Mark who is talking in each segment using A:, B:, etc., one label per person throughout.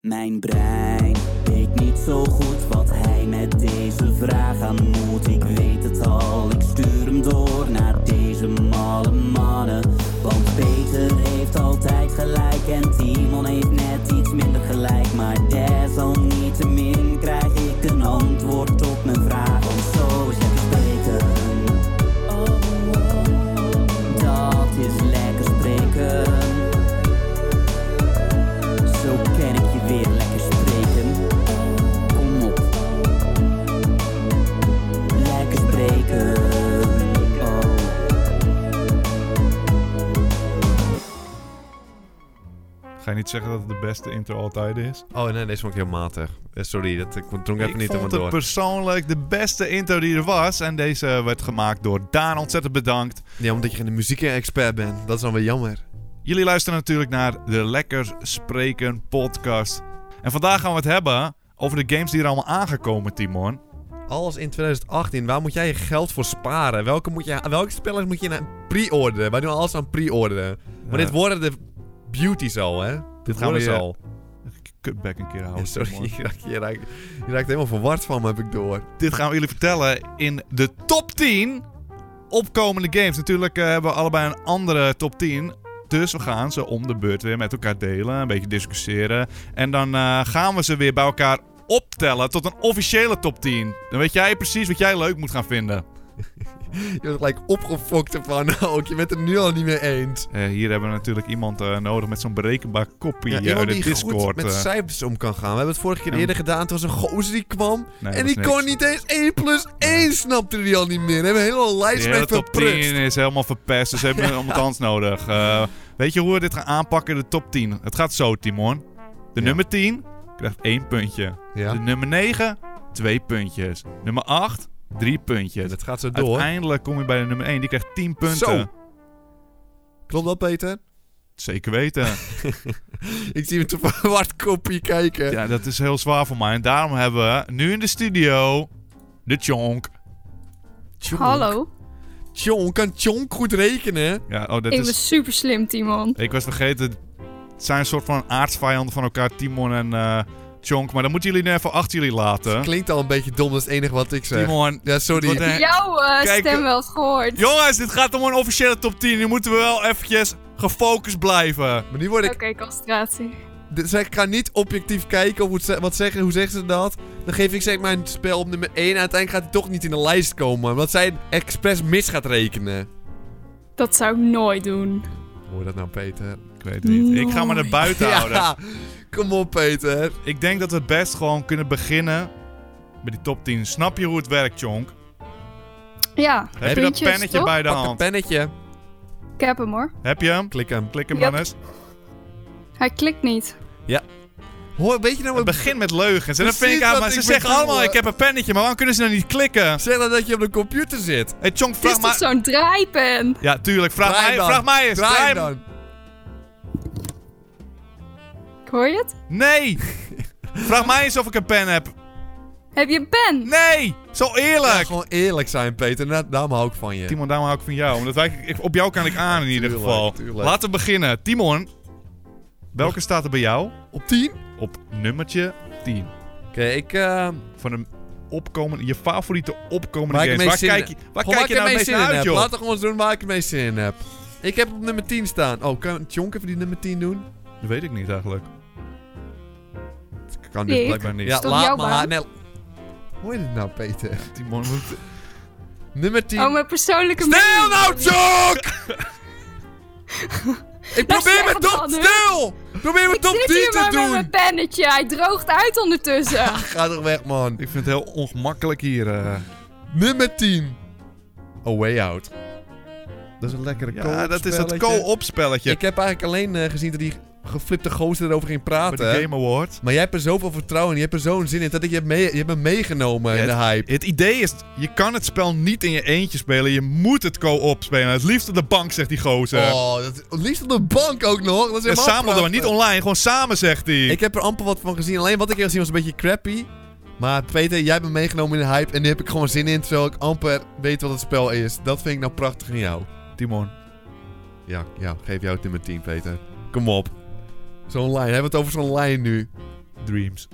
A: Mijn brein weet niet zo goed wat hij met deze vraag aan moet. Ik weet het al, ik stuur hem door naar deze malle mannen. Want Peter heeft altijd gelijk en Timon heeft net iets minder gelijk. Maar desalniettemin krijg ik een antwoord op mijn vraag. Want zo is het dus spreken. Dat is lekker spreken. Zo ken ik je weer lekker spreken. Kom op. Lekker spreken. Oh.
B: Ga je niet zeggen dat het de beste intro altijd is?
C: Oh nee, deze vond ik heel matig. Eh, Sorry, dat, ik dronk even
B: ik
C: niet
B: vond
C: helemaal
B: het
C: door.
B: persoonlijk de beste intro die er was. En deze werd gemaakt door Daan. Ontzettend bedankt.
C: Ja, omdat je geen muziekexpert bent. Dat is dan weer jammer.
B: Jullie luisteren natuurlijk naar de Lekker Spreken podcast. En vandaag gaan we het hebben over de games die er allemaal aangekomen, Timon.
C: Alles in 2018, waar moet jij je geld voor sparen? Welke, moet je, welke spelers moet je naar pre-orderen? Wij doen alles aan pre-orderen. Maar
B: Ja.
C: dit worden de beauties al, hè? Dit
B: gaan we oh,
C: worden ze
B: weer
C: al.
B: Cutback een keer houden.
C: Ja, sorry,
B: Timon.
C: je raakt, je, raakt, je raakt helemaal verward van me, heb ik door.
B: Dit gaan we jullie vertellen in de top 10 opkomende games. Natuurlijk eh, hebben we allebei een andere top 10. Dus we gaan ze om de beurt weer met elkaar delen, een beetje discussiëren. En dan eh, gaan we ze weer bij elkaar optellen tot een officiële top 10. Dan weet jij precies wat jij leuk moet gaan vinden.
C: Je wordt gelijk opgefokt ervan ook. Je bent het nu al niet meer eens.
B: Eh, hier hebben we natuurlijk iemand eh, nodig met zo'n berekenbaar kopie
C: Ja,
B: eh, uit
C: iemand
B: de
C: die goed
B: Discord.
C: met
B: eh.
C: cijfers om kan gaan. We hebben het vorige keer
B: Ja.
C: eerder gedaan. Toen was een gozer die kwam.
B: Nee,
C: en
B: dat is
C: die kon
B: niks.
C: niet eens 1 plus 1. Snapte die al niet meer. We hebben een hele
B: De
C: lijst
B: hele
C: mee
B: top
C: verprutst.
B: 10 is helemaal verpest, dus hebben we iemand anders nodig. Eh, weet je hoe we dit gaan aanpakken, de top 10? Het gaat zo, Timon. De
C: Ja.
B: nummer 10 krijgt 1 puntje.
C: Ja.
B: De nummer 9, 2 puntjes. Nummer 8, 3 puntjes.
C: Dat gaat zo door.
B: Uiteindelijk kom je bij de nummer 1, die krijgt 10 punten.
C: Zo. Klopt dat, Peter?
B: Zeker weten.
C: Ik zie hem te verward kopje kijken.
B: ja, dat is heel zwaar voor mij. En daarom hebben we nu in de studio de Chonk.
C: Tjonk.
D: Hallo,
C: Tjonk, kan Tjonk goed rekenen?
B: Ja, oh, dat
D: ik
B: is...
D: ben super slim, Timon.
B: Ik was vergeten, het zijn een soort van aardsvijanden van elkaar, Timon en eh Chonk. Maar dan moeten jullie nu even achter jullie laten.
C: Klinkt al een beetje dom, dat is het enige wat ik zeg.
B: Timon.
C: Ja,
B: Wat
C: sorry.
B: een-
D: Jouw eh,
B: Kijk,
D: stem wel eens gehoord.
B: Jongens, dit gaat om een officiële top 10. Nu moeten we wel eventjes gefocust blijven.
C: Maar nu word
D: Oké,
C: ik...
D: concentratie.
C: dit- zeg, Ik ga niet objectief kijken of hoe het ze- wat zeggen, hoe zeggen ze dat. Dan geef ik zeg mijn spel op nummer 1 en uiteindelijk gaat hij toch niet in de lijst komen. Omdat zij expres mis gaat rekenen.
D: Dat zou ik nooit doen.
C: Hoor je dat nou, Peter?
B: Ik weet het niet. Ik ga maar naar buiten houden.
C: Ja, kom op, Peter.
B: Ik denk dat we best gewoon kunnen beginnen met die top 10. Snap je hoe het werkt, Chonk?
D: Ja,
B: Heb je dat
D: puntjes,
B: pennetje
D: toch?
B: bij de
C: Pak een
B: hand?
C: pennetje.
D: Ik heb hem hoor.
B: Heb je hem?
C: Klik hem.
B: Klik hem
D: Ja.
B: dan eens.
D: Hij klikt niet.
C: Hoor, weet je nou
B: Het
C: wat...
B: begint met leugens. En dan
C: Precies
B: vind ik uit,
C: wat
B: maar ze
C: ik
B: zeggen
C: bedoel,
B: allemaal:
C: hè.
B: ik heb een pennetje, maar waarom kunnen ze nou niet klikken?
C: Zeg dan dat je op de computer zit.
B: Hey, Chonk,
D: Het is
B: vraag
D: toch
B: maar.
D: zo'n draaipen?
B: Ja, tuurlijk. Vraag
C: Draai
B: mij,
C: hem dan.
B: vraag mij eens.
C: Draai
B: Draai
C: hem
B: hem.
C: dan.
D: Hoor je het?
B: Nee! Vraag mij eens of ik een pen heb.
D: Heb je een pen?
B: Nee! Zo
C: Ja,
B: eerlijk!
C: gewoon eerlijk zijn, Peter. Da- daarom hou ik van je.
B: Timon, daarom hou ik van jou. Omdat wij, ik- op jou kan ik aan in ieder
C: Tuurlijk,
B: geval.
C: tuurlijk.
B: Laten we beginnen. Timon, welke staat er bij jou?
C: Op 10? Oké,
B: Op nummertje 10.
C: ik... eh,
B: Van een opkomende, je favoriete opkomende
C: Waar ik
B: games.
C: mee
B: Waar
C: zin
B: kijk,
C: in-
B: je, waar
C: gewoon
B: kijk je
C: waar ik
B: nou het
C: ermee
B: meest
C: zin
B: naar uit,
C: in heb.
B: joh?
C: Laten we gewoon eens doen waar ik het meest zin in heb. Ik heb op nummer 10 staan. Oh, kan Tjonk even die nummer 10 doen?
B: Dat weet ik niet eigenlijk.
C: Kan
D: dus Ik?
B: blijkbaar niet.
C: Ja,
D: Is dat
C: laat
D: jouw
C: maar.
D: baan?
C: Nee. Hoe is het nou, Peter?
B: Timon, moet-
C: Nummer 10.
D: Oh, mijn persoonlijke
C: Stil
D: mening.
C: nou, Tjonk! ik probeer
D: slecht
C: mijn top...
D: van, hè?
C: Stil! Ik Probeer mijn
D: Ik
C: top 10
D: zit hier
C: te
D: maar met mijn
C: doen!
D: pennetje. Hij droogt uit ondertussen.
C: Ga toch weg, man.
B: ik vind het heel ongemakkelijk hier. eh.
C: Nummer 10. A Way Out. Dat is een lekkere
B: Ja, dat is dat
C: co-opspelletje.
B: co-op spelletje.
C: Ik heb eigenlijk alleen eh, gezien dat die geflipte gozer erover ging
B: Bij
C: praten.
B: de Game Award.
C: Maar jij hebt er zoveel vertrouwen in. Je hebt er zo'n zin in. Dat ik je, hebt mee, je hebt me meegenomen
B: Ja,
C: in de hype.
B: Het idee is, je kan het spel niet in je eentje spelen. Je moet het co-op spelen. Het liefst op de bank, zegt die gozer.
C: Oh, dat, het liefst op de bank ook nog. Dat is
B: en
C: helemaal
B: samen doen,
C: prachtig.
B: niet online. Gewoon samen, zegt hij.
C: Ik heb er amper wat van gezien. Alleen wat ik heb gezien was een beetje crappy. Maar Peter, jij hebt me meegenomen in de hype. En nu heb ik gewoon zin in. Terwijl ik amper weet wat het spel is. Dat vind ik nou prachtig in jou.
B: Timon.
C: Ja, ja, geef jou het nummer 10, Peter. Kom op. Zo'n lijn. Hebben we het over zo'n lijn nu?
B: Dreams.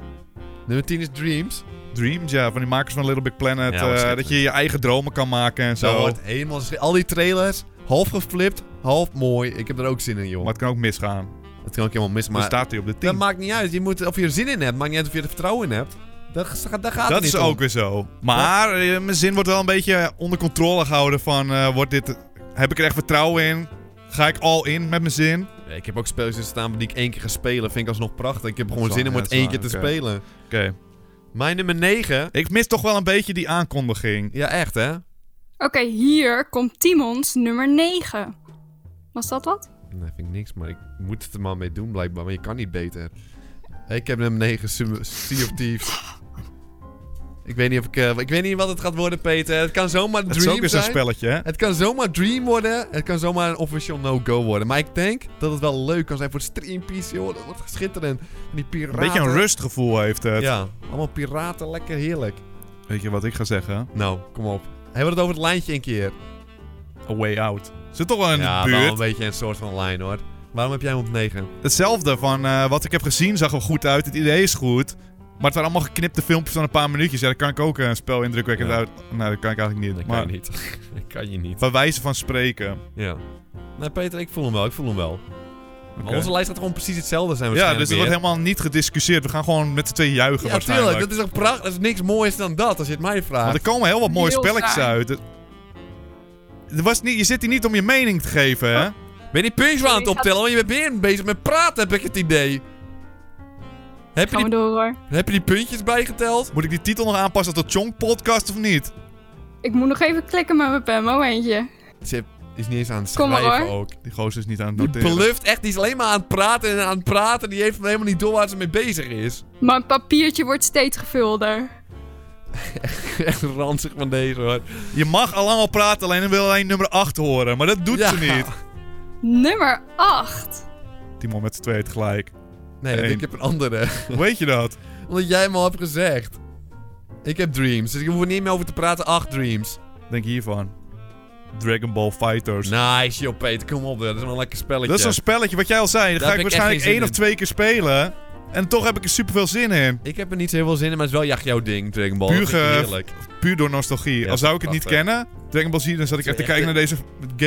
C: Nummer 10 is Dreams.
B: Dreams, ja, van die makers van Little Big Planet.
C: Ja,
B: eh,
C: waarschijnlijk.
B: dat je je eigen dromen kan maken en
C: Zo
B: zo.
C: wordt helemaal... schri- Al die trailers, half geflipt, half mooi. Ik heb er ook zin in, joh.
B: Maar het kan ook misgaan.
C: Dat kan ook helemaal mis,
B: Dan
C: maar...
B: staat hij op de
C: Dat
B: 10.
C: maakt niet uit. Je moet, of je er zin in hebt, maakt niet uit of je er vertrouwen in hebt. Daar, daar gaat het
B: Dat
C: niet
B: is
C: om.
B: ook weer zo. Maar eh, mijn zin wordt wel een beetje onder controle gehouden van... eh, wordt dit, heb ik er echt vertrouwen in? Ga ik all in met mijn zin?
C: Ja, Ik heb ook spelletjes staan die ik één keer ga spelen. Vind ik alsnog prachtig. Ik heb gewoon
B: Dat is
C: zin om
B: waar,
C: het
B: ja,
C: één
B: dat is
C: keer te
B: waar, oké.
C: spelen.
B: Oké.
C: Mijn nummer 9.
B: Ik mis toch wel een beetje die aankondiging.
C: Ja, echt hè?
D: Oké, hier komt Timons nummer 9. Was dat wat?
C: Nee, vind ik niks. Maar ik moet het er maar mee doen blijkbaar. Maar je kan niet beter. Ik heb nummer 9, Sum- Sea of Thieves. ik, weet niet of ik, eh, ik weet niet wat het gaat worden, Peter. Het kan zomaar
B: Het
C: Dream
B: is ook weer zo'n
C: zijn.
B: spelletje, hè?
C: Het kan zomaar Dream worden. Het kan zomaar een official no-go worden. Maar ik denk dat het wel leuk kan zijn voor streampiece, joh. Dat wordt schitterend. En die piraten.
B: Een beetje een rustgevoel heeft het.
C: Ja, allemaal piraten. Lekker heerlijk.
B: Weet je wat ik ga zeggen?
C: Nou, kom op. Hebben we het over het lijntje een keer?
B: A way out. Zit toch wel in
C: ja,
B: de
C: wel
B: buurt.
C: een beetje een soort van lijn hoor. Waarom heb jij hem op 9?
B: Hetzelfde van eh, wat ik heb gezien zag er goed uit. Het idee is goed. Maar het waren allemaal geknipte filmpjes van een paar minuutjes. Ja, daar kan ik ook eh, een spel indrukwekkend
C: Ja.
B: uit. Nou, dat kan ik eigenlijk niet. maar
C: niet. dat kan je niet.
B: van wijze van spreken.
C: Ja. Nee, Peter, ik voel hem wel. Ik voel hem wel. Maar
B: Oké.
C: onze lijst gaat gewoon precies hetzelfde zijn
B: Ja,
C: waarschijnlijk
B: dus er wordt
C: weer.
B: helemaal niet gediscussieerd. We gaan gewoon met z'n twee juichen
C: Ja,
B: waarschijnlijk.
C: tuurlijk. Dat is toch prachtig. Dat is niks moois dan dat, als je het mij vraagt.
B: Want er komen heel wat mooie
D: Heel
B: spelletjes
D: saai.
B: uit. Het- Er was niet, je zit hier niet om je mening te geven,
C: Oh.
B: hè?
C: Ben je die punch wel aan het
D: Ik ga-
C: optellen? Want je bent weer bezig met praten, heb ik het idee. Heb je,
D: Gaan we
C: die,
D: door hoor.
C: heb je die puntjes bijgeteld?
B: Moet ik die titel nog aanpassen tot Chong Podcast of niet?
D: Ik moet nog even klikken met mijn pen, momentje.
C: Ze is niet eens aan het
D: Kom maar,
C: schrijven
D: hoor.
C: ook.
B: Die gozer is niet aan het
C: Die
B: noteren.
C: bluft echt, die is alleen maar aan het praten en aan het praten. Die heeft helemaal niet door waar ze mee bezig is.
D: Mijn papiertje wordt steeds gevulder.
C: echt ranzig van deze hoor.
B: Je mag allemaal al praten, alleen dan wil alleen nummer 8 horen. Maar dat doet
C: Ja.
B: ze niet.
D: Nummer 8.
B: Timon met z'n tweeën tegelijk.
C: Nee,
B: Eén.
C: ik heb een andere.
B: Hoe weet je dat?
C: Omdat jij hem al hebt gezegd. Ik heb dreams, dus ik hoef er niet meer over te praten. Acht dreams.
B: Denk hiervan. Dragon Ball Fighters.
C: Nice, joh Peter, kom op. hè. Dat is wel een lekker spelletje.
B: dat is zo'n spelletje wat jij al zei.
C: Daar
B: Daar ga ik
C: heb ik echt
B: waarschijnlijk één
C: geen zin
B: of
C: in.
B: twee keer spelen. En toch heb ik er super veel zin in.
C: Ik heb er niet zo heel veel zin in, maar het is wel jacht jouw ding, Dragon Ball.
B: Puur Nou,
C: Dat vind
B: ge-
C: ik heerlijk.
B: Puur door nostalgie.
C: Ja,
B: al zou ik het niet
C: prachtig.
B: kennen, Dragon Ball Z, dan zat ik echt te
C: Echt,
B: kijken
C: eh,
B: naar deze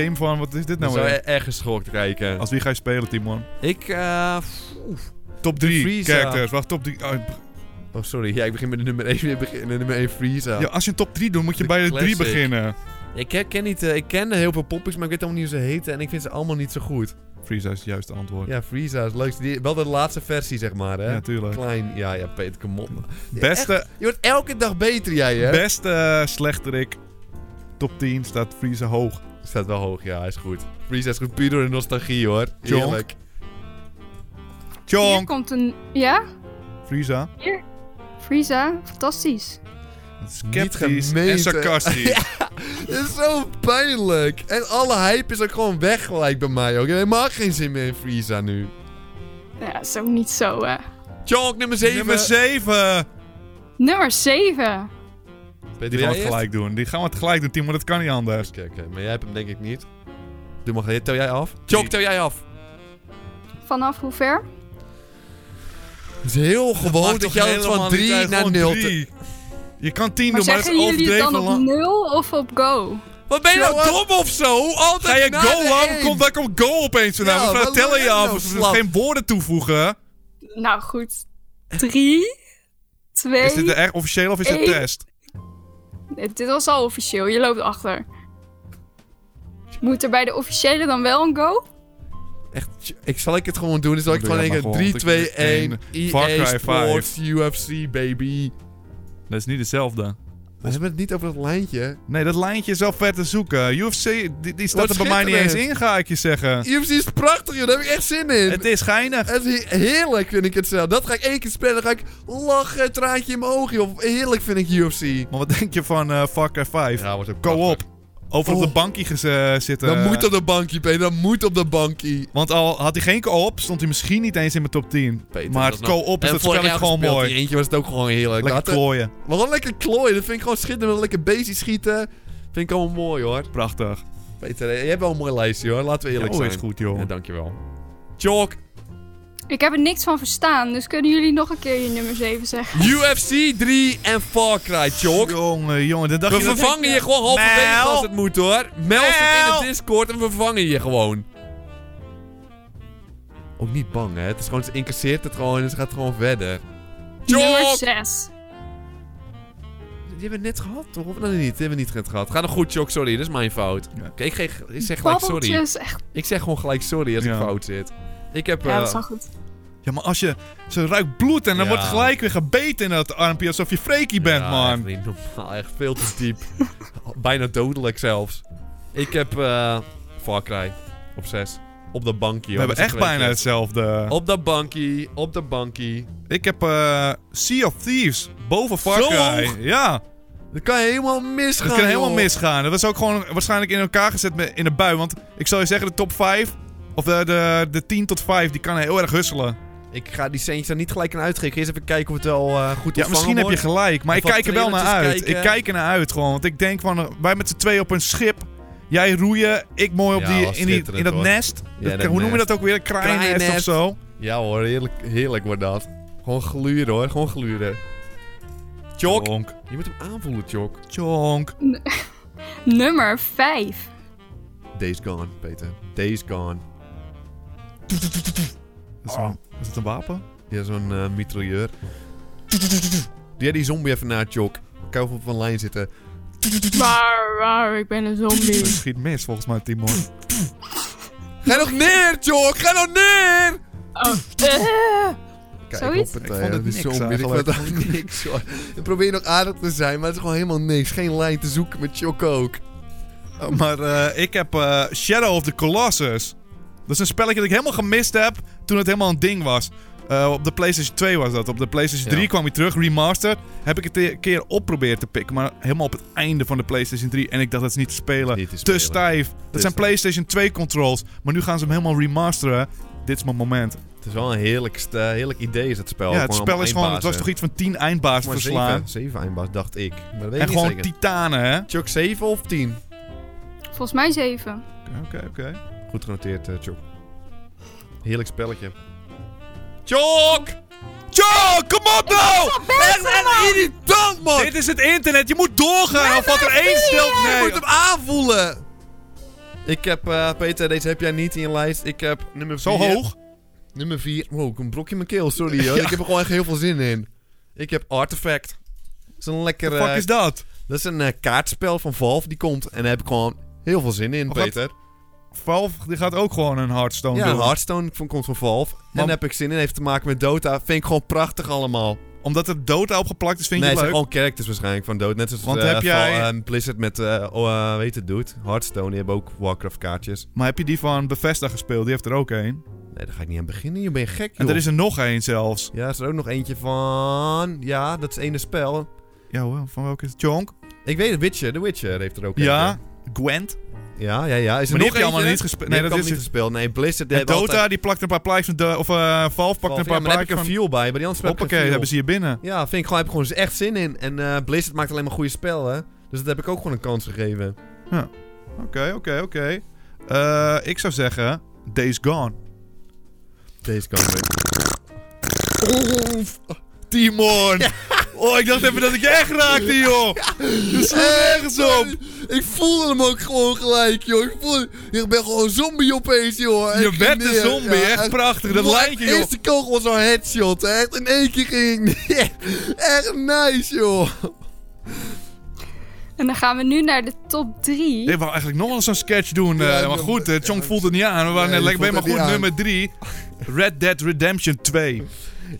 B: game van wat is dit
C: Nou,
B: nou
C: zou je
B: weer?
C: erg geschokt kijken.
B: Als wie ga je spelen, Timon?
C: Ik, eh... pff, oef.
B: Top 3
C: Frieza.
B: characters. Wacht, top 3.
C: Oh, sorry. Ja, ik begin met de nummer 1. Ik begin met de nummer 1 Frieza.
B: ja, als je een top 3 doet, moet je
C: De
B: bij de 3
C: classic.
B: beginnen.
C: Ik ken, ken niet... eh, ik ken heel veel poppies, maar ik weet allemaal niet hoe ze heten. En ik vind ze allemaal niet zo goed.
B: Freeza is het juiste antwoord. Ja,
C: Ja, Frieza is het leukste. Die, wel de laatste versie, zeg maar, hè?
B: tuurlijk.
C: Klein. Ja, ja, Peter, kom op. Ja,
B: Beste,
C: echt, je wordt elke dag beter, jij, hè?
B: beste eh, slechterik. Top 10 staat Freeza hoog.
C: Staat wel hoog, ja, hij is goed. Frieza is goed, puur door de nostalgie, hoor.
B: Jonk.
C: Heerlijk.
D: Hier
B: Chong.
D: komt een... Ja?
B: Frieza.
D: Frieza, fantastisch.
B: Sceptisch
C: gemeen, hè?
B: en sarcastisch.
C: Het is zo pijnlijk. En alle hype is ook gewoon weg gelijk bij mij, ook. Ik heb helemaal geen zin meer in Frieza nu.
D: Ja, dat is ook niet zo, hè.
C: Chonk, nummer 7.
B: Nummer 7.
D: Nummer 7.
B: Die gaan
C: Peter, wil
B: we
C: jij
B: het gelijk doen. Die gaan we het gelijk doen, Timo. Dat kan niet anders.
C: eerst? Oké, oké. Maar jij hebt hem denk ik niet. Doe maar, tel jij af? Chonk, tel jij af.
D: Vanaf hoe ver?
C: Het is heel gewoon
B: Maakt
C: dat
B: toch
C: jij het van
B: helemaal niet
C: 3
B: uit,
C: naar
B: gewoon
C: 0
B: drie. Je kan 10
D: Maar
B: doen, maar dat
D: zeggen
B: is
D: jullie het
B: overdreven
D: dan op
B: lang.
D: 0 of op go?
C: Wat ben je nou
B: Jongen.
C: dom of zo? Altijd
B: Ga je
C: na
B: go
C: de
B: af?
C: één.
B: Komt, daar komt go opeens vandaan.
C: Ja,
B: we gaan
C: wat
B: tellen je
C: doe je
B: af.
C: nou,
B: Als we
C: slap?
B: geen woorden toevoegen.
D: Nou goed. 3, 2...
B: Is dit de echt officieel of is het
D: Eén.
B: test?
D: Dit was al officieel, je loopt achter. Moet er bij de officiële dan wel een go?
C: Echt, ik zal ik het gewoon doen. Dan zal ik
B: Doe
C: gewoon
B: jij
C: denken:
B: maar
C: 3,
B: gewoon, want ik
C: 2,
B: doe het
C: 1.
B: één. Far
C: EA
B: Cry
C: E Sports UFC, baby.
B: Dat is niet hetzelfde.
C: We hebben het niet over dat lijntje.
B: Nee, dat lijntje is wel ver te zoeken. UFC, die, die staat
C: Wat
B: er bij mij niet eens
C: schitterend.
B: in, ga ik je zeggen.
C: UFC is prachtig, joh. Daar heb ik echt zin in.
B: Het is geinig.
C: Het is he- heerlijk, vind ik het zelf. Dat ga ik één keer spelen. Dan ga ik lachen, traantje in mijn ogen, joh. Heerlijk vind ik UFC.
B: Maar wat denk je van eh Far Cry 5?
C: wordt ook
B: Co-op. Over op
C: Oh.
B: de bankie gez- eh, zitten.
C: Dat moet op de bankie, Peter. Dat moet op de bankie.
B: Want al had hij geen co-op, stond hij misschien niet eens in mijn top 10. maar het co-op is dat spel ik gewoon mooi.
C: eentje was het ook gewoon heerlijk.
B: Lekker
C: Laten-
B: klooien.
C: Maar gewoon lekker klooien. Dat vind ik gewoon schitterend. Lekker bezig schieten. Vind ik allemaal mooi, hoor. eh,
B: Prachtig.
C: Peter, je hebt wel een mooi lijstje, hoor. Laten we eerlijk
B: Oh,
C: zijn.
B: is goed, joh.
C: Ja, dankjewel. Chalk.
D: Ik heb er niks van verstaan, dus kunnen jullie nog een keer je nummer 7 zeggen?
C: UFC 3 en Far Cry, Chok.
B: Jongen, jongen, dat dacht
C: We
B: je dat-
C: vervangen je gewoon halverwege
B: Mel.
C: als het moet hoor. Meld het
B: Mel.
C: in de Discord en we vervangen je gewoon. Ook niet bang hè. Het is gewoon, ze incasseert het gewoon en ze gaat gewoon verder.
D: Nummer
C: Chok!
D: 6.
C: Die hebben we net gehad toch? Of nee, niet? Die hebben we niet net gehad. Ga nog goed Chok, sorry. Dat is mijn fout.
B: Ja.
C: Kijk, ik, geef- ik zeg gelijk sorry.
D: Babbeltjes, echt.
C: Ik zeg gewoon gelijk sorry als
B: Ja.
C: ik fout zit. Ik heb...
D: Ja,
C: eh,
D: dat is al goed.
B: Ja, maar als je... Ze ruikt bloed en dan
C: Ja.
B: wordt gelijk weer gebeten in dat armpje alsof je freaky bent,
C: ja,
B: man.
C: Echt niet normaal. Echt veel te diep. Bijna dodelijk zelfs. Ik heb eh Far Cry op 6. Op dat bankje.
B: We
C: hoor.
B: hebben
C: Dat is
B: echt
C: een Oh.
B: bijna
C: kwestie.
B: hetzelfde.
C: Op dat bankje. Op dat bankje.
B: Ik heb eh, Sea of Thieves boven Far
C: Zo
B: Cry.
C: hoog?
B: Ja,
C: Dat kan helemaal misgaan.
B: dat kan helemaal
C: Ah, joh.
B: misgaan. Dat was ook gewoon waarschijnlijk in elkaar gezet met- in de bui. Want ik zal je zeggen, de top 5, of de, de, de 10 tot 5, die kan heel erg husselen.
C: Ik ga die centjes daar niet gelijk aan uitgeven. Eerst even kijken of het wel eh, goed
B: Ja,
C: ontvangen
B: misschien heb je
C: wordt.
B: gelijk, maar ik
C: Even
B: kijk er wel naar
C: trailertjes
B: uit.
C: kijken.
B: Ik kijk er naar uit gewoon. Want ik denk van, eh, wij met z'n tweeën op een schip. Jij roeien, ik mooi op
C: Ja,
B: die,
C: was
B: in, die, in
C: schitterend,
B: dat
C: hoor.
B: nest.
C: Ja,
B: Dat-
C: dat
B: hoe noem je
C: nest.
B: dat ook weer? Een kraaiennest of
C: Kraaiennest.
B: zo.
C: Ja hoor, heerlijk, heerlijk wordt dat. Gewoon gluren hoor, gewoon gluren. Chok,
B: Tjonk,
C: je moet hem aanvoelen, Chok.
B: tjonk.
D: Nummer 5.
C: Days gone, Peter. Days gone.
B: Is, het een- is het een wapen?
C: Ja, zo'n eh mitrailleur. Doe jij die zombie even na, Chok? Kou van van lijn zitten.
D: Waar, waar, ik ben een
B: Het
D: zombie.
B: schiet mis volgens mij, Timon.
C: Ga nog neer, Chok! Ga nog neer!
D: Oh, eh.
C: Kijk,
D: Zoiets?
C: hoppatee,
B: Ik vond het
C: die
B: niks
C: zombie, Ik vond
B: eigenlijk.
C: het ook niks, hoor. Ik probeer nog aardig te zijn, maar het is gewoon helemaal niks. Geen lijn te zoeken met Chok ook.
B: Oh, Maar eh, ik heb eh, Shadow of the Colossus. Dat is een spelletje dat ik helemaal gemist heb toen het helemaal een ding was. Eh, op de PlayStation 2 was dat. Op de PlayStation 3
C: Ja.
B: kwam hij terug, remastered. Heb ik het een keer op proberen te pikken, maar helemaal op het einde van de PlayStation 3. En ik dacht dat is niet te spelen.
C: Niet te
B: Te
C: spelen.
B: stijf. Dat zijn
C: stijf.
B: PlayStation 2 controls. Maar nu gaan ze hem helemaal remasteren. Dit is mijn moment.
C: Het is wel een heerlijk, st- eh, heerlijk idee, is het spel.
B: ja, het spel is gewoon. Het was toch iets van 10 eindbazen
C: maar
B: verslaan.
C: zeven, zeven eindbaas, dacht ik. Maar dat weet ik
B: En
C: niet
B: gewoon
C: zeker.
B: titanen, hè?
C: Chok 7 of 10?
D: Volgens mij 7.
B: Oké, oké, oké.
C: Goed genoteerd, eh, Chok. Heerlijk spelletje. Chok!
B: Joe, kom op nou!
C: Echt echt irritant, man!
B: Dit is het internet, je moet doorgaan. Of wat er één stelt.
C: Je
B: Nee.
C: moet hem aanvoelen! Ik heb, eh, Peter, deze heb jij niet in je lijst. Ik heb nummer 4.
B: Zo hoog?
C: Nummer 4. Wow, ik heb een brokje in mijn keel, sorry hoor. Ik heb er gewoon echt heel veel zin in. Ik heb Artifact. Dat is een lekker...
B: Fuck
C: eh,
B: is dat?
C: dat is een eh, kaartspel van Valve, die komt. En daar heb ik gewoon heel veel zin in,
B: Wat?
C: Peter.
B: Valve die gaat ook Oh, gewoon een Hearthstone
C: Ja,
B: doen.
C: Hearthstone van- komt van Valve. En
B: Maar-
C: daar heb ik zin in. Heeft te maken met Dota. Vind ik gewoon prachtig allemaal.
B: Omdat er dood opgeplakt is, vind
C: nee,
B: je
C: het
B: het
C: zijn
B: leuk?
C: gewoon characters waarschijnlijk van dood. Net zoals
B: Want
C: eh,
B: heb jij-
C: van, eh, Blizzard met, eh oh, eh, weet het, dude. Hearthstone, die hebben ook Warcraft kaartjes.
B: Maar heb je die van Bethesda gespeeld? Die heeft er ook één.
C: Nee, daar ga ik niet aan beginnen. Je bent gek, joh.
B: En er is er nog één zelfs.
C: Ja, is er ook nog eentje van... Ja, dat is ene spel.
B: Ja, hoor, van welke is het? Chonk?
C: Ik weet het, Witcher. The Witcher heeft er ook
B: Ja.
C: eentje.
B: Gwent?
C: Ja, ja, ja. Is
B: Maar die
C: er nog
B: heb je allemaal
C: eentje?
B: niet gespeeld.
C: Nee,
B: Nee,
C: dat
B: dat
C: heb ik
B: is
C: niet
B: het.
C: gespeeld. Nee, Blizzard... die
B: En
C: hebben
B: Dota,
C: altijd-
B: die plakt een paar plaatjes van... de- Of eh Valve pakt
C: Valve,
B: een
C: ja,
B: paar
C: maar daar heb ik
B: plaatjes
C: een
B: van...
C: fuel bij. Maar die andere heb ik
B: Hoppakee, dat
C: geen fuel.
B: hebben ze hier binnen.
C: Ja, vind ik gewoon, heb ik gewoon echt zin in. En eh, Blizzard maakt alleen maar goede spellen. Dus dat heb ik ook gewoon een kans gegeven.
B: Oké, oké, oké. Eh, ik zou zeggen... Days Gone.
C: Deze kans. weer.
B: Timon! Oh, ik dacht even dat ik je echt raakte, joh! Je slaat ergens op!
C: Ik voelde hem ook gewoon gelijk, joh. Ik, voelde, ik ben gewoon zombie opeens, joh. En
B: Je
C: ik
B: bent
C: ging
B: een
C: neer.
B: zombie,
C: Ja,
B: echt
C: en-
B: prachtig. Dat
C: Maar
B: lijntje, joh.
C: Eerste kogel was al headshot, echt. In één keer ging ik neer. Echt nice, joh.
D: En dan gaan we nu naar de top 3.
B: Ik wou eigenlijk nog wel zo'n sketch doen,
C: Ja,
B: eh,
C: ik
B: maar
C: ben-
B: goed, eh, Chong voelt het niet aan. We waren net
C: Nee, je
B: lekker bij, maar
C: voelt
B: goed,
C: het niet
B: nummer 3. Red Dead Redemption 2.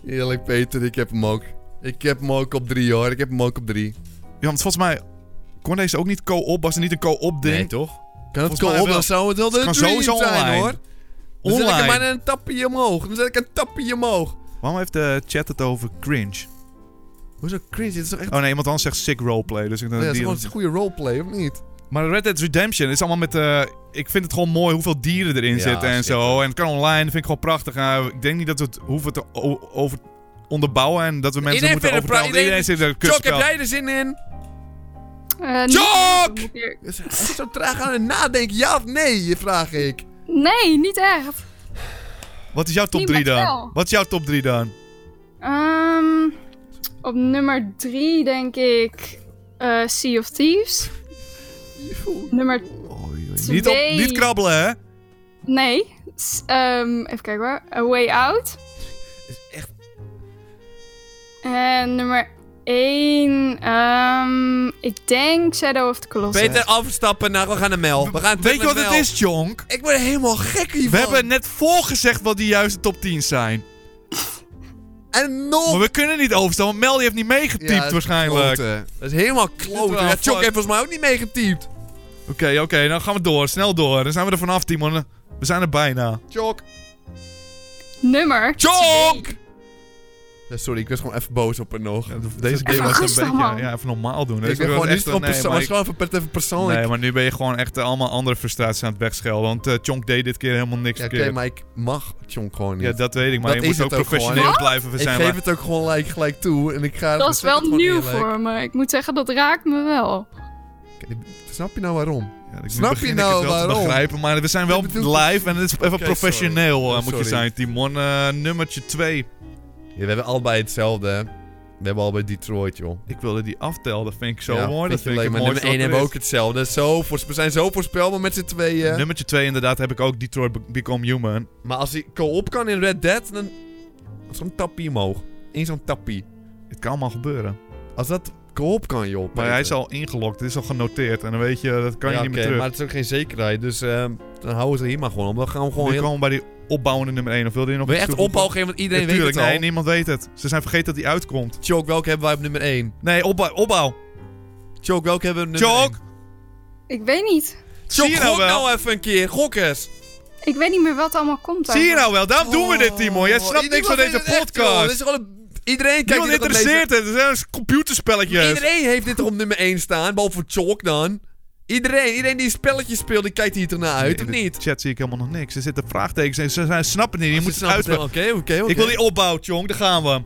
C: Eerlijk, Peter, ik heb hem ook. Ik heb hem ook op drie, hoor. Ik heb hem ook op drie.
B: Ja, want volgens mij kon deze ook niet co-op, was er niet een co-op ding?
C: toch? Kan het
B: Volgens mij
C: komen?
B: wel.
C: Dan zou het wel de
B: Het kan
C: dream
B: sowieso
C: zijn,
B: online.
C: hoor. Dan zet ik
B: Online.
C: hem maar een tapje omhoog. Dan zet ik een tapje omhoog.
B: Waarom heeft de chat het over cringe?
C: Hoezo cringe? Dit is toch echt...
B: Oh nee, iemand anders zegt sick roleplay, dus ik
C: Ja,
B: denk
C: het is
B: die...
C: gewoon een goede roleplay, of niet?
B: Maar Red Dead Redemption is allemaal met... eh, ik vind het gewoon mooi hoeveel dieren erin
C: Ja,
B: zitten en zo.
C: zeker.
B: En het kan online, vind ik gewoon prachtig. Eh, ik denk niet dat we het hoeven te o- over onderbouwen en dat we mensen
C: Iedereen
B: moeten
C: vindt het
B: overtuigen.
C: pra-
B: Iedereen zit in een
C: Chok, heb
B: kutspel.
C: jij er zin in?
D: Eh, niet-
C: Jok!
D: moet hier-
C: Je is echt zo traag aan het nadenken. Ja of nee, vraag ik.
D: Nee, niet echt.
B: Wat is jouw top
D: Niemand
B: 3 dan?
D: wel.
B: Wat is jouw top 3 dan?
D: Ehm, op nummer 3 denk ik eh, Sea of Thieves. Nummer
B: Niet, op,
D: Twee.
B: niet krabbelen, hè?
D: nee. S- ehm, even kijken hoor. A Way Out.
C: is echt...
D: En nummer 1. ik denk Shadow of the Colossus.
C: Peter, afstappen. Nou, we gaan naar Mel. We gaan terug
B: Weet je
C: naar
B: wat het
C: Mel.
B: is, Jonk?
C: Ik word helemaal gek hiervan.
B: We hebben net voorgezegd wat die juiste top 10 zijn.
C: En nog...
B: Maar we kunnen niet overstaan, want Mel die heeft niet meegetypt
C: Ja,
B: waarschijnlijk. Oké,
C: kloten. Dat is helemaal kloten. Ja, Chok heeft volgens mij ook niet meegetypt.
B: oké, dan gaan we door. Snel door. Dan zijn we er vanaf, Timon. We zijn er bijna.
C: Chok.
D: Nummer.
B: Jonk!
C: Ja, sorry, ik was gewoon even boos op haar nog.
B: Deze game
D: Even
B: was
D: rustig,
B: een beetje...
D: man.
B: Ja, even normaal doen.
C: ik
B: Deze
C: ben
B: was
C: gewoon
B: echt
C: niet
B: een-
C: van
B: nee,
C: persoon.
B: maar
C: was gewoon even per- even persoonlijk.
B: Nee, maar nu ben je gewoon echt eh, allemaal andere frustraties aan het wegschelden. Want eh Chonk deed dit keer helemaal niks
C: Ja, Oké,
B: verkeerd.
C: maar ik mag Chonk gewoon niet.
B: Ja, dat weet ik. Maar
C: Dat
B: je
C: is
B: moet
C: het
B: ook
C: ook
B: professioneel
C: gewoon.
B: blijven
C: ik
B: zijn.
C: geef
B: maar-
C: het ook gewoon gelijk, gelijk toe. En ik ga
D: Dat is
C: zeg
D: wel
C: het gewoon
D: nieuw
C: eerlijk.
D: voor me. Ik moet zeggen, dat raakt me wel.
C: Snap je nou waarom?
B: Ja, ik- nu
C: Snap je
B: begin ik
C: nou
B: het wel te
C: waarom?
B: begrijpen, maar we zijn wel
C: Ik bedoel-
B: live en het is even
C: Oké,
B: professioneel
C: sorry. Oh,
B: eh, moet je
C: Sorry.
B: zijn, Timon. Eh, nummertje 2.
C: Ja, we hebben allebei hetzelfde. hè. We hebben allebei Detroit, joh.
B: Ik wilde die aftellen, dat vind ik zo
C: Ja,
B: mooi. Dat vind ik
C: leuk,
B: het
C: maar nummer
B: mooiste
C: 1
B: wat er
C: hebben
B: is.
C: we ook hetzelfde. Zo voorspe- we zijn zo voorspelbaar met z'n tweeën.
B: Nummertje 2 inderdaad heb ik ook Detroit Be- Become Human.
C: Maar als hij co-op kan in Red Dead, dan... Zo'n tappie omhoog. Eén zo'n tappie.
B: Het kan allemaal gebeuren.
C: Als dat co-op kan, joh.
B: Maar hij is al ingelogd, het is al genoteerd en dan weet je, dat kan je niet meer terug.
C: maar het is ook geen zekerheid. Dus ehm, dan houden ze er hier maar gewoon om. Dan gaan we gewoon
B: We
C: heel...
B: komen bij die opbouwende nummer 1, of wilde je nog
C: Wil je
B: iets
C: echt
B: toevoegen?
C: opbouw geven? Want iedereen
B: Ja,
C: weet
B: tuurlijk,
C: het al.
B: nee, niemand weet het. Ze zijn vergeten dat die uitkomt.
C: Choke, welke hebben wij op nummer 1?
B: Nee, opbouw. opbouw.
C: Choke, welke hebben we op nummer 1?
B: Chonk!
D: Ik weet niet.
B: Zie je
C: Choke,
B: nou
C: gok
B: wel?
C: nou even een keer. Gokkers.
D: Ik weet niet meer wat allemaal komt.
B: Zie je
D: eigenlijk.
B: nou wel? Daarom doen we dit, Timon. Jij
C: Oh,
B: snapt niks van deze podcast.
C: Dit is gewoon een... Iedereen kijkt
B: Niemand
C: hier nog een
B: interesseert het. Het zijn dus
C: leven-
B: computerspelletjes.
C: Iedereen heeft dit er op nummer 1 staan, behalve Choke dan. Iedereen, iedereen die spelletjes speelt, die kijkt hier ernaar uit,
B: In
C: of
B: de
C: niet? Oh,
B: chat zie ik helemaal nog niks. Er zitten vraagtekens en ze, ze snappen het niet. Je moet
C: Ze
B: het
C: snappen wel.
B: uitleggen.
C: Oké, oké, oké.
B: Ik wil die opbouw, jong. Daar gaan we.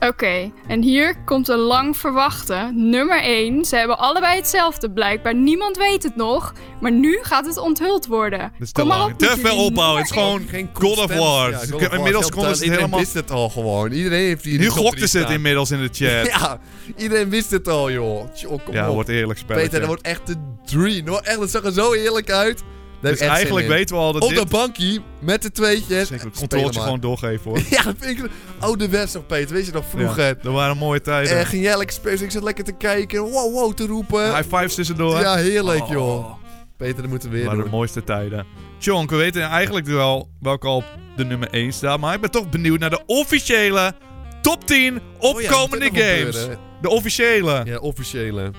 D: Oké, en hier komt een lang verwachte. Nummer 1. Ze hebben allebei hetzelfde blijkbaar. Niemand weet het nog. Maar nu gaat het onthuld worden.
B: Dat is te
D: Kom maar
B: lang.
D: op. met
B: Te
D: jullie
B: veel opbouw. Het is
D: nummer één.
B: gewoon God of War. Dus ik- Inmiddels konden ze het helemaal...
C: Iedereen wist het al gewoon. Iedereen heeft
B: Nu
C: hier in de top
B: gokten
C: drie
B: ze het
C: staan.
B: inmiddels in de chat.
C: Ja, iedereen wist het al, joh. Tjoh, kom
B: Ja,
C: op.
B: wordt eerlijk
C: Peter, dat
B: spelletje.
C: wordt echt de dream. Hoor. Echt, dat zag er zo eerlijk uit. Daar heb ik
B: Dus
C: echt
B: eigenlijk
C: zin in.
B: weten we al dat
C: Op dat
B: dit...
C: bankje, met de tweetjes.
B: Zeker, het
C: Spelen
B: controltje
C: maar.
B: gewoon doorgeven, hoor.
C: Ja, dat vind ik... Ouderwets nog, Peter. Weet je nog
B: Ja,
C: vroeger?
B: dat waren mooie
C: Eh
B: tijden.
C: ging jij lekker spelen? Ik zat lekker te kijken. Wow, wow, te roepen.
B: High fives tussendoor.
C: eh, Ja, heerlijk,
B: Oh.
C: joh. Peter, dat moeten we weer
B: Maar de
C: doen.
B: mooiste tijden. Tjonk, we weten eigenlijk wel welke al op de nummer 1 staat. Maar ik ben toch benieuwd naar de officiële top 10
C: Oh ja, dat moet
B: opkomende
C: nog gebeuren.
B: games. De officiële.
C: Ja, officiële.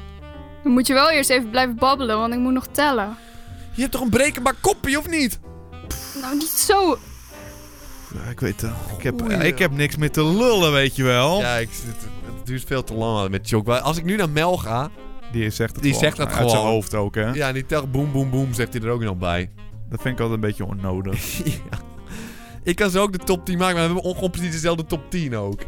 D: Dan moet je wel eerst even blijven babbelen, want ik moet nog tellen.
C: Je hebt toch een brekenbaar koppie, of niet?
D: Nou, niet zo.
B: Ja, ik weet het. Ik heb, eh,
C: Oei.
B: ik heb niks meer te lullen, weet je wel.
C: Ja, ik, het, het duurt veel te lang met Chok. Maar Als ik nu naar Mel ga...
B: Die zegt het
C: Die
B: gewoon.
C: zegt dat
B: Uit zijn
C: gewoon.
B: hoofd ook, hè.
C: Ja, en die telt boem, boem, boem, zegt hij er ook nog bij.
B: Dat vind ik altijd een beetje onnodig.
C: ja. Ik kan zo ook de top 10 maken, maar we hebben ongeveer precies dezelfde top 10 ook.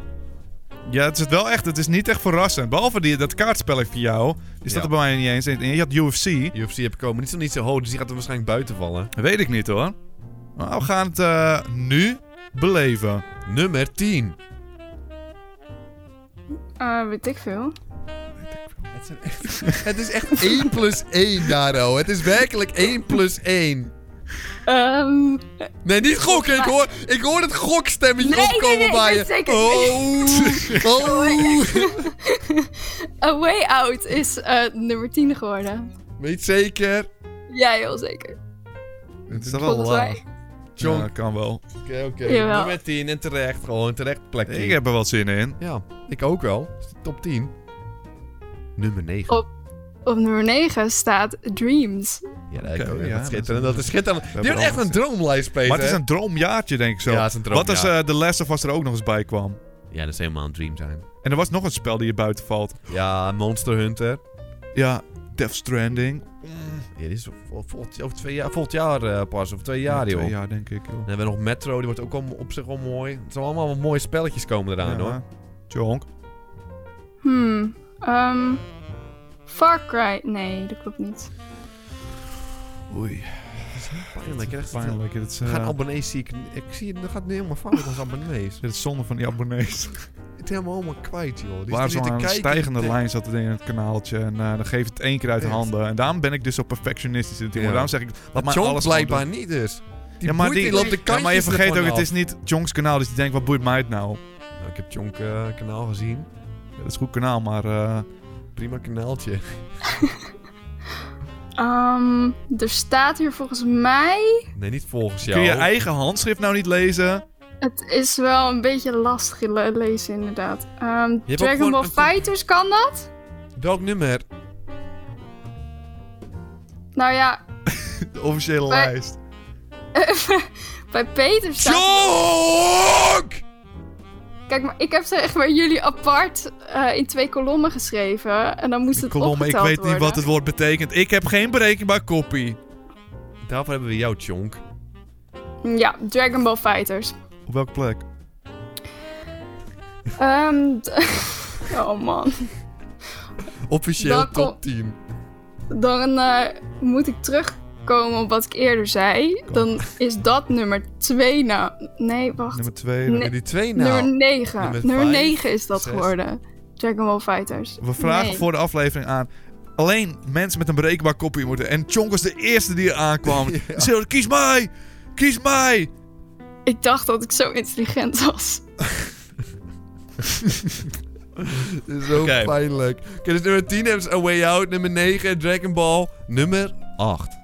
B: ja, het is wel echt. Het is niet echt verrassend. Behalve die, dat kaartspelletje voor jou. Die staat er
C: Ja.
B: bij mij niet eens. in. En je had UFC.
C: UFC heb ik ook, maar die is nog niet zo hoog, dus die gaat er waarschijnlijk buiten vallen.
B: Weet ik niet, hoor. Maar we gaan het eh, nu beleven.
C: Nummer 10.
D: Eh, weet ik veel.
C: Het, zijn echt, het is echt 1 plus 1, Daro. Het is werkelijk 1 plus 1.
D: Ehm,
C: Nee, niet gokken. Ik hoor, ik hoor het gokstemmetje
D: Nee, nee,
C: opkomen
D: nee, ik
C: bij je.
D: weet zeker-
C: Oh, oh.
D: A Way Out is eh, nummer 10 geworden.
C: Weet zeker.
D: Ja, heel zeker.
B: Oh, Het is toch wel
D: Volgens
B: lang.
D: mij.
B: Ja,
C: John,
B: dat kan wel.
C: Oké, oké.
D: Jawel.
C: Nummer 10 en terecht. Gewoon terecht plekje.
B: Ik heb er wel zin in.
C: Ja, ik ook wel. Het is de Top 10. Nummer 9.
D: Op- Op nummer 9 staat Dreams.
C: Ja, dat,
B: Oké,
C: ik ook.
B: ja,
C: dat
B: dat
C: is schitterend.
B: is-
C: Dat is schitterend.
B: hebben
C: Die hebben echt een
B: allemaal-
C: droomlijst, Peter.
B: Maar het is een droomjaartje, denk ik zo.
C: Ja, het is een
B: Wat als
C: droomjaar.
B: eh, The Last of Us er ook nog eens bij kwam?
C: Ja, dat is helemaal een dream zijn.
B: En er was nog een spel die je buiten valt.
C: Ja, Monster Hunter.
B: Ja, Death Stranding.
C: Ja, die is vol- volgend, over twee jaar, volgend jaar eh, pas. Over twee jaar,
B: Ja,
C: joh.
B: Twee jaar, denk ik, joh.
C: Dan hebben we nog Metro. Die wordt ook al, op zich wel mooi. Het zijn allemaal wel mooie spelletjes komen eraan,
B: Ja,
C: hoor.
B: Tjonk.
D: Hmm. ehm, Far Cry. Nee, dat klopt niet.
B: Oei.
C: Dat is Pijnlijk, echt.
B: Pijnlijk. Het is, eh,
C: Gaan abonnees zie ik... Ik zie het, dat gaat nu helemaal fout met onze abonnees.
B: dit is zonde van die abonnees.
C: Het is helemaal helemaal kwijt, joh. Die
B: Waar
C: zitten
B: zo
C: niet
B: aan
C: te
B: een
C: kijken,
B: stijgende
C: die denken-
B: lijn zat het in het kanaaltje. En eh, dan geef je het één keer uit de
C: Echt.
B: handen. En daarom ben ik dus zo perfectionistisch natuurlijk.
C: Ja.
B: Daarom zeg ik, laat maar
C: John
B: alles maar
C: blijkbaar
B: doen.
C: niet dus. Die
B: Ja, maar
C: boeit
B: die-
C: niet, loopt de
B: Ja, maar je
C: kantjes
B: vergeet ook,
C: ervan
B: het
C: af.
B: is niet Jonk's kanaal. Dus die denkt, wat boeit mij het nou?
C: Nou, ik heb Jonk eh, kanaal gezien.
B: Ja, Dat is een goed kanaal, maar... eh,
C: Prima kanaaltje.
D: Ehm, er staat hier volgens mij...
C: Nee, niet volgens jou.
B: kun je je eigen handschrift nou niet lezen?
D: Het is wel een beetje lastig le- lezen inderdaad. Ehm,
C: ook
D: Dragon
C: gewoon
D: Ball
C: een-
D: Fighters kan dat?
C: Welk nummer?
D: Nou ja,
B: De officiële
D: Bij-
B: lijst.
D: bij Peter staat...
C: Jonk!
D: Kijk, maar ik heb zeg maar jullie apart eh, in twee kolommen geschreven. En dan moest het
B: Kolom, ik
D: opgeteld
B: weet niet wat
D: worden.
B: het woord betekent. Ik heb geen berekenbaar kopie.
C: Daarvoor hebben we jou, Jonk.
D: Ja, Dragon Ball Fighters.
B: Op welke plek?
D: Ehm, d- oh man.
C: Officieel
D: Dan kom-
C: top 10.
D: Dan eh, moet ik terugkomen op wat ik eerder zei. Dan is dat nummer 2 nou. Nee, wacht.
B: Nummer 2.
D: Nee.
C: En die twee
D: Nummer
C: nou.
D: 9.
C: nummer
D: Nummer
C: vijf,
D: 9 is dat
C: zes.
D: geworden. Dragon Ball Fighters.
B: We vragen
D: Nee.
B: voor de aflevering aan. Alleen mensen met een berekenbaar kopie moeten. En Chonk was de eerste die er aankwam.
C: Ja.
B: Ze zei, kies mij! Kies mij!
D: Ik dacht dat ik zo intelligent was.
C: Dit is Zo
B: Oké.
C: pijnlijk. Oké, dus nummer 10 hebben ze A Way Out. Nummer 9, Dragon Ball. Nummer 8.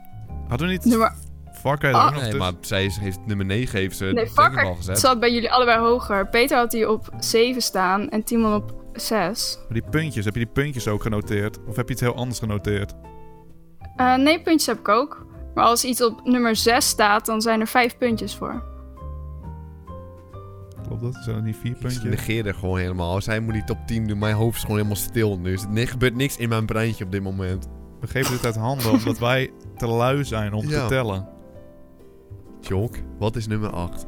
B: Hadden we niet...
D: Nummer...
B: Fuck, er
D: Ah.
B: ook nog dus.
C: Nee,
B: tussen?
C: maar zij is- heeft nummer 9 heeft ze
D: Nee,
C: Dragon Ball
D: Fakker
C: gezet.
D: zat bij jullie allebei hoger. Peter had die op 7 staan en Timon op 6.
B: Maar Die puntjes, heb je die puntjes ook genoteerd? Of heb je iets heel anders genoteerd?
D: Eh, nee, puntjes heb ik ook. Maar als iets op nummer 6 staat, dan zijn er 5 puntjes voor.
B: Klopt dat? Zijn dat niet vier
C: Ik
B: puntjes?
C: negeer er Dus gewoon helemaal. Zij moet die top 10 doen. Mijn hoofd is gewoon helemaal stil nu. Dus er ne- gebeurt niks in mijn breintje op dit moment.
B: We geven dit uit handen omdat wij te lui zijn om te
C: Ja.
B: tellen.
C: Jonk, wat is nummer 8?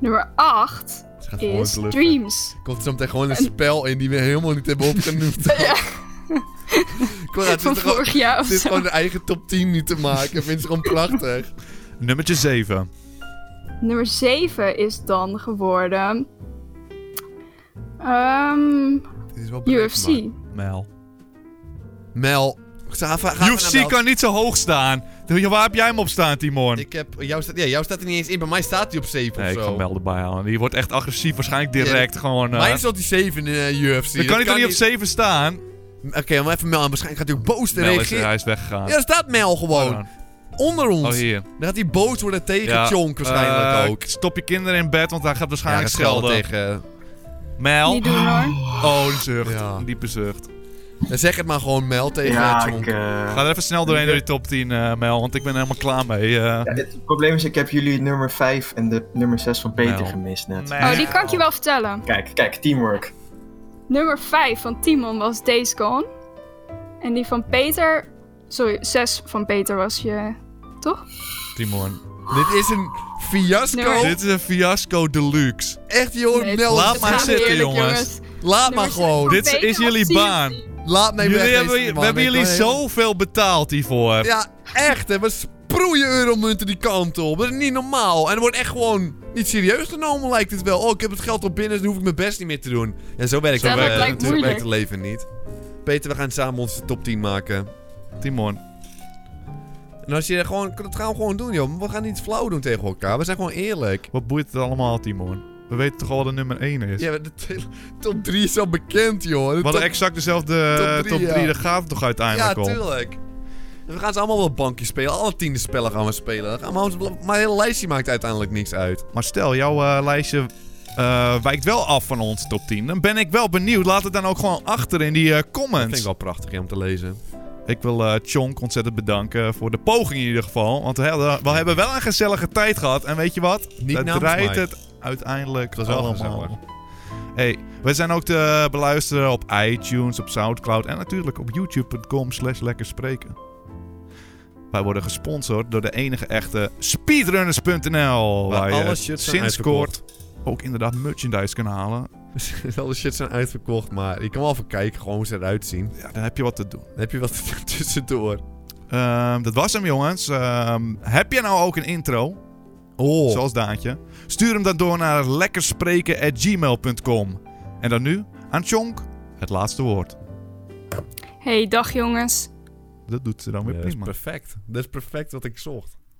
D: Nummer 8
C: Ze gaat gewoon
D: is
C: bluffen.
D: Dreams.
C: Komt er zo meteen gewoon een spel in die we helemaal niet hebben opgenoemd. Kom, het is
D: Van
C: toch gewoon-
D: vorig jaar of
C: het is
D: zo.
C: gewoon een eigen top 10 nu te maken. Ik vind ze gewoon prachtig.
B: Nummertje 7.
D: Nummer 7 is dan geworden. ehm,
C: Dit is wel berekenbaar.
D: UFC.
B: Mel.
C: Mel. Xava, ga maar naar
B: UFC
C: Mel.
B: kan niet zo hoog staan. Waar heb jij hem op staan, Timon?
C: Ik heb, eh, jou staat, ja, jou staat er niet eens in. Bij mij staat hij op 7
B: Nee,
C: of
B: ik
C: zo.
B: ga Mel erbij halen. Die wordt echt agressief, waarschijnlijk direct gewoon... eh,
C: Mij staat die 7 in eh, UFC.
B: dan kan hij toch niet op 7 staan?
C: Oké, maar even Mel aan. Waarschijnlijk gaat hij ook boos te
B: Mel is, hij
C: reageren.
B: is weggegaan.
C: Ja, daar staat Mel gewoon.
B: Oh,
C: Onder ons.
B: Oh, hier.
C: Dan gaat hij boos worden tegen
B: Ja,
C: Chonk waarschijnlijk
B: eh,
C: ook.
B: Stop je kinderen in bed, want hij gaat
C: Ja,
B: waarschijnlijk
C: hij schelden
B: schelden.
C: tegen...
B: Mel.
D: Niet doen hoor.
B: Oh, een zucht.
C: Ja.
B: Een diepe zucht.
C: Dan zeg het maar gewoon Mel tegen
E: Ja,
C: Chonk.
E: ik, eh,
B: Ga er even snel doorheen door die top 10, eh, Mel, want ik ben er helemaal klaar mee. eh.
E: ja, het probleem is, ik heb jullie nummer 5 en de nummer 6 van Peter
B: Nou.
E: gemist net.
B: Mel.
D: Oh, die kan ik je wel vertellen.
E: Kijk, kijk, teamwork.
D: Nummer 5 van Timon was Days Gone. En die van Peter. Sorry, 6 van Peter was je. Toch?
B: Oh, Timon.
C: Dit is een fiasco.
D: Nummer-
B: Dit is een fiasco deluxe.
C: Echt joh,
D: Nee,
C: Mel.
B: laat
D: het
B: maar
D: gaat
B: zitten,
D: heerlijk,
B: jongens.
C: laat maar
D: Nummer
C: gewoon.
D: zes.
B: Dit
D: Peter,
B: is
D: wat
B: jullie
D: zie je?
B: baan.
C: Laat mij
B: Jullie
C: weg.
B: hebben,
C: deze man.
B: we hebben
C: Ik
B: jullie
C: ben
B: zoveel betaald hiervoor.
C: heel- Ja, echt hè. We sproeien euromunten die kant op. Dat is niet normaal. En er wordt echt gewoon niet serieus genomen lijkt het wel. Oh, ik heb het geld op binnen, dus hoef ik mijn best niet meer te doen. En zo werkt
D: Zo
C: het,
D: werkt
C: eh,
D: lijkt
C: natuurlijk werkt
D: moeilijk.
C: het leven niet. Peter, we gaan samen onze top 10 maken.
B: Timon.
C: En als je gewoon, dat gaan we gewoon doen, joh. We gaan niet flauw doen tegen elkaar. We zijn gewoon eerlijk.
B: Wat boeit het allemaal, Timon? We weten toch al wat de nummer 1 is?
C: Ja, maar de te- top 3 is al bekend, joh. De
B: We hadden
C: top-
B: exact dezelfde
C: top
B: eh,
C: drie,
B: top 3.
C: ja.
B: Dat gaat toch
C: Ja,
B: uiteindelijk om?
C: tuurlijk. We gaan ze allemaal wel bankje spelen. Alle tiende spellen gaan we spelen. Dan gaan we ons- Mijn hele lijstje maakt uiteindelijk niks uit.
B: Maar stel, jouw eh, lijstje eh, wijkt wel af van onze top 10. Dan ben ik wel benieuwd. Laat het dan ook gewoon achter in die eh,
C: Dat vind
B: comments.
C: ik
B: Ik,
C: wel prachtig hè, om te lezen.
B: wil eh, Chonk ontzettend bedanken voor de poging in ieder geval. Want we, hadden- we hebben wel een gezellige tijd gehad. En weet je wat?
C: Niet
B: Daar
C: namens
B: draait
C: mij.
B: het uiteindelijk
C: Het was wel
B: allemaal.
C: gezellig.
B: Hey, we zijn ook te beluisteren op iTunes, op Soundcloud en natuurlijk op youtube.com slash lekker spreken. Wij worden gesponsord door de enige echte speedrunners.nl.
C: Waar
B: je
C: alle shirts zijn
B: sinds
C: uitverkocht.
B: kort ook inderdaad merchandise kan halen.
C: Alle shit zijn uitverkocht, maar ik kan wel even kijken gewoon hoe ze eruit zien.
B: Ja, dan heb je wat te doen.
C: Dan heb je wat tussendoor.
B: Ehm, dat was hem, jongens. Ehm, heb je nou ook een intro?
C: Oh.
B: Zoals Daantje. Stuur hem dan door naar lekkerspreken.gmail.com. En dan nu aan Chonk het laatste woord.
D: Hey, dag jongens.
B: Dat doet ze dan weer
C: Ja, dat is
B: prima.
C: perfect. Dat is perfect wat ik zocht.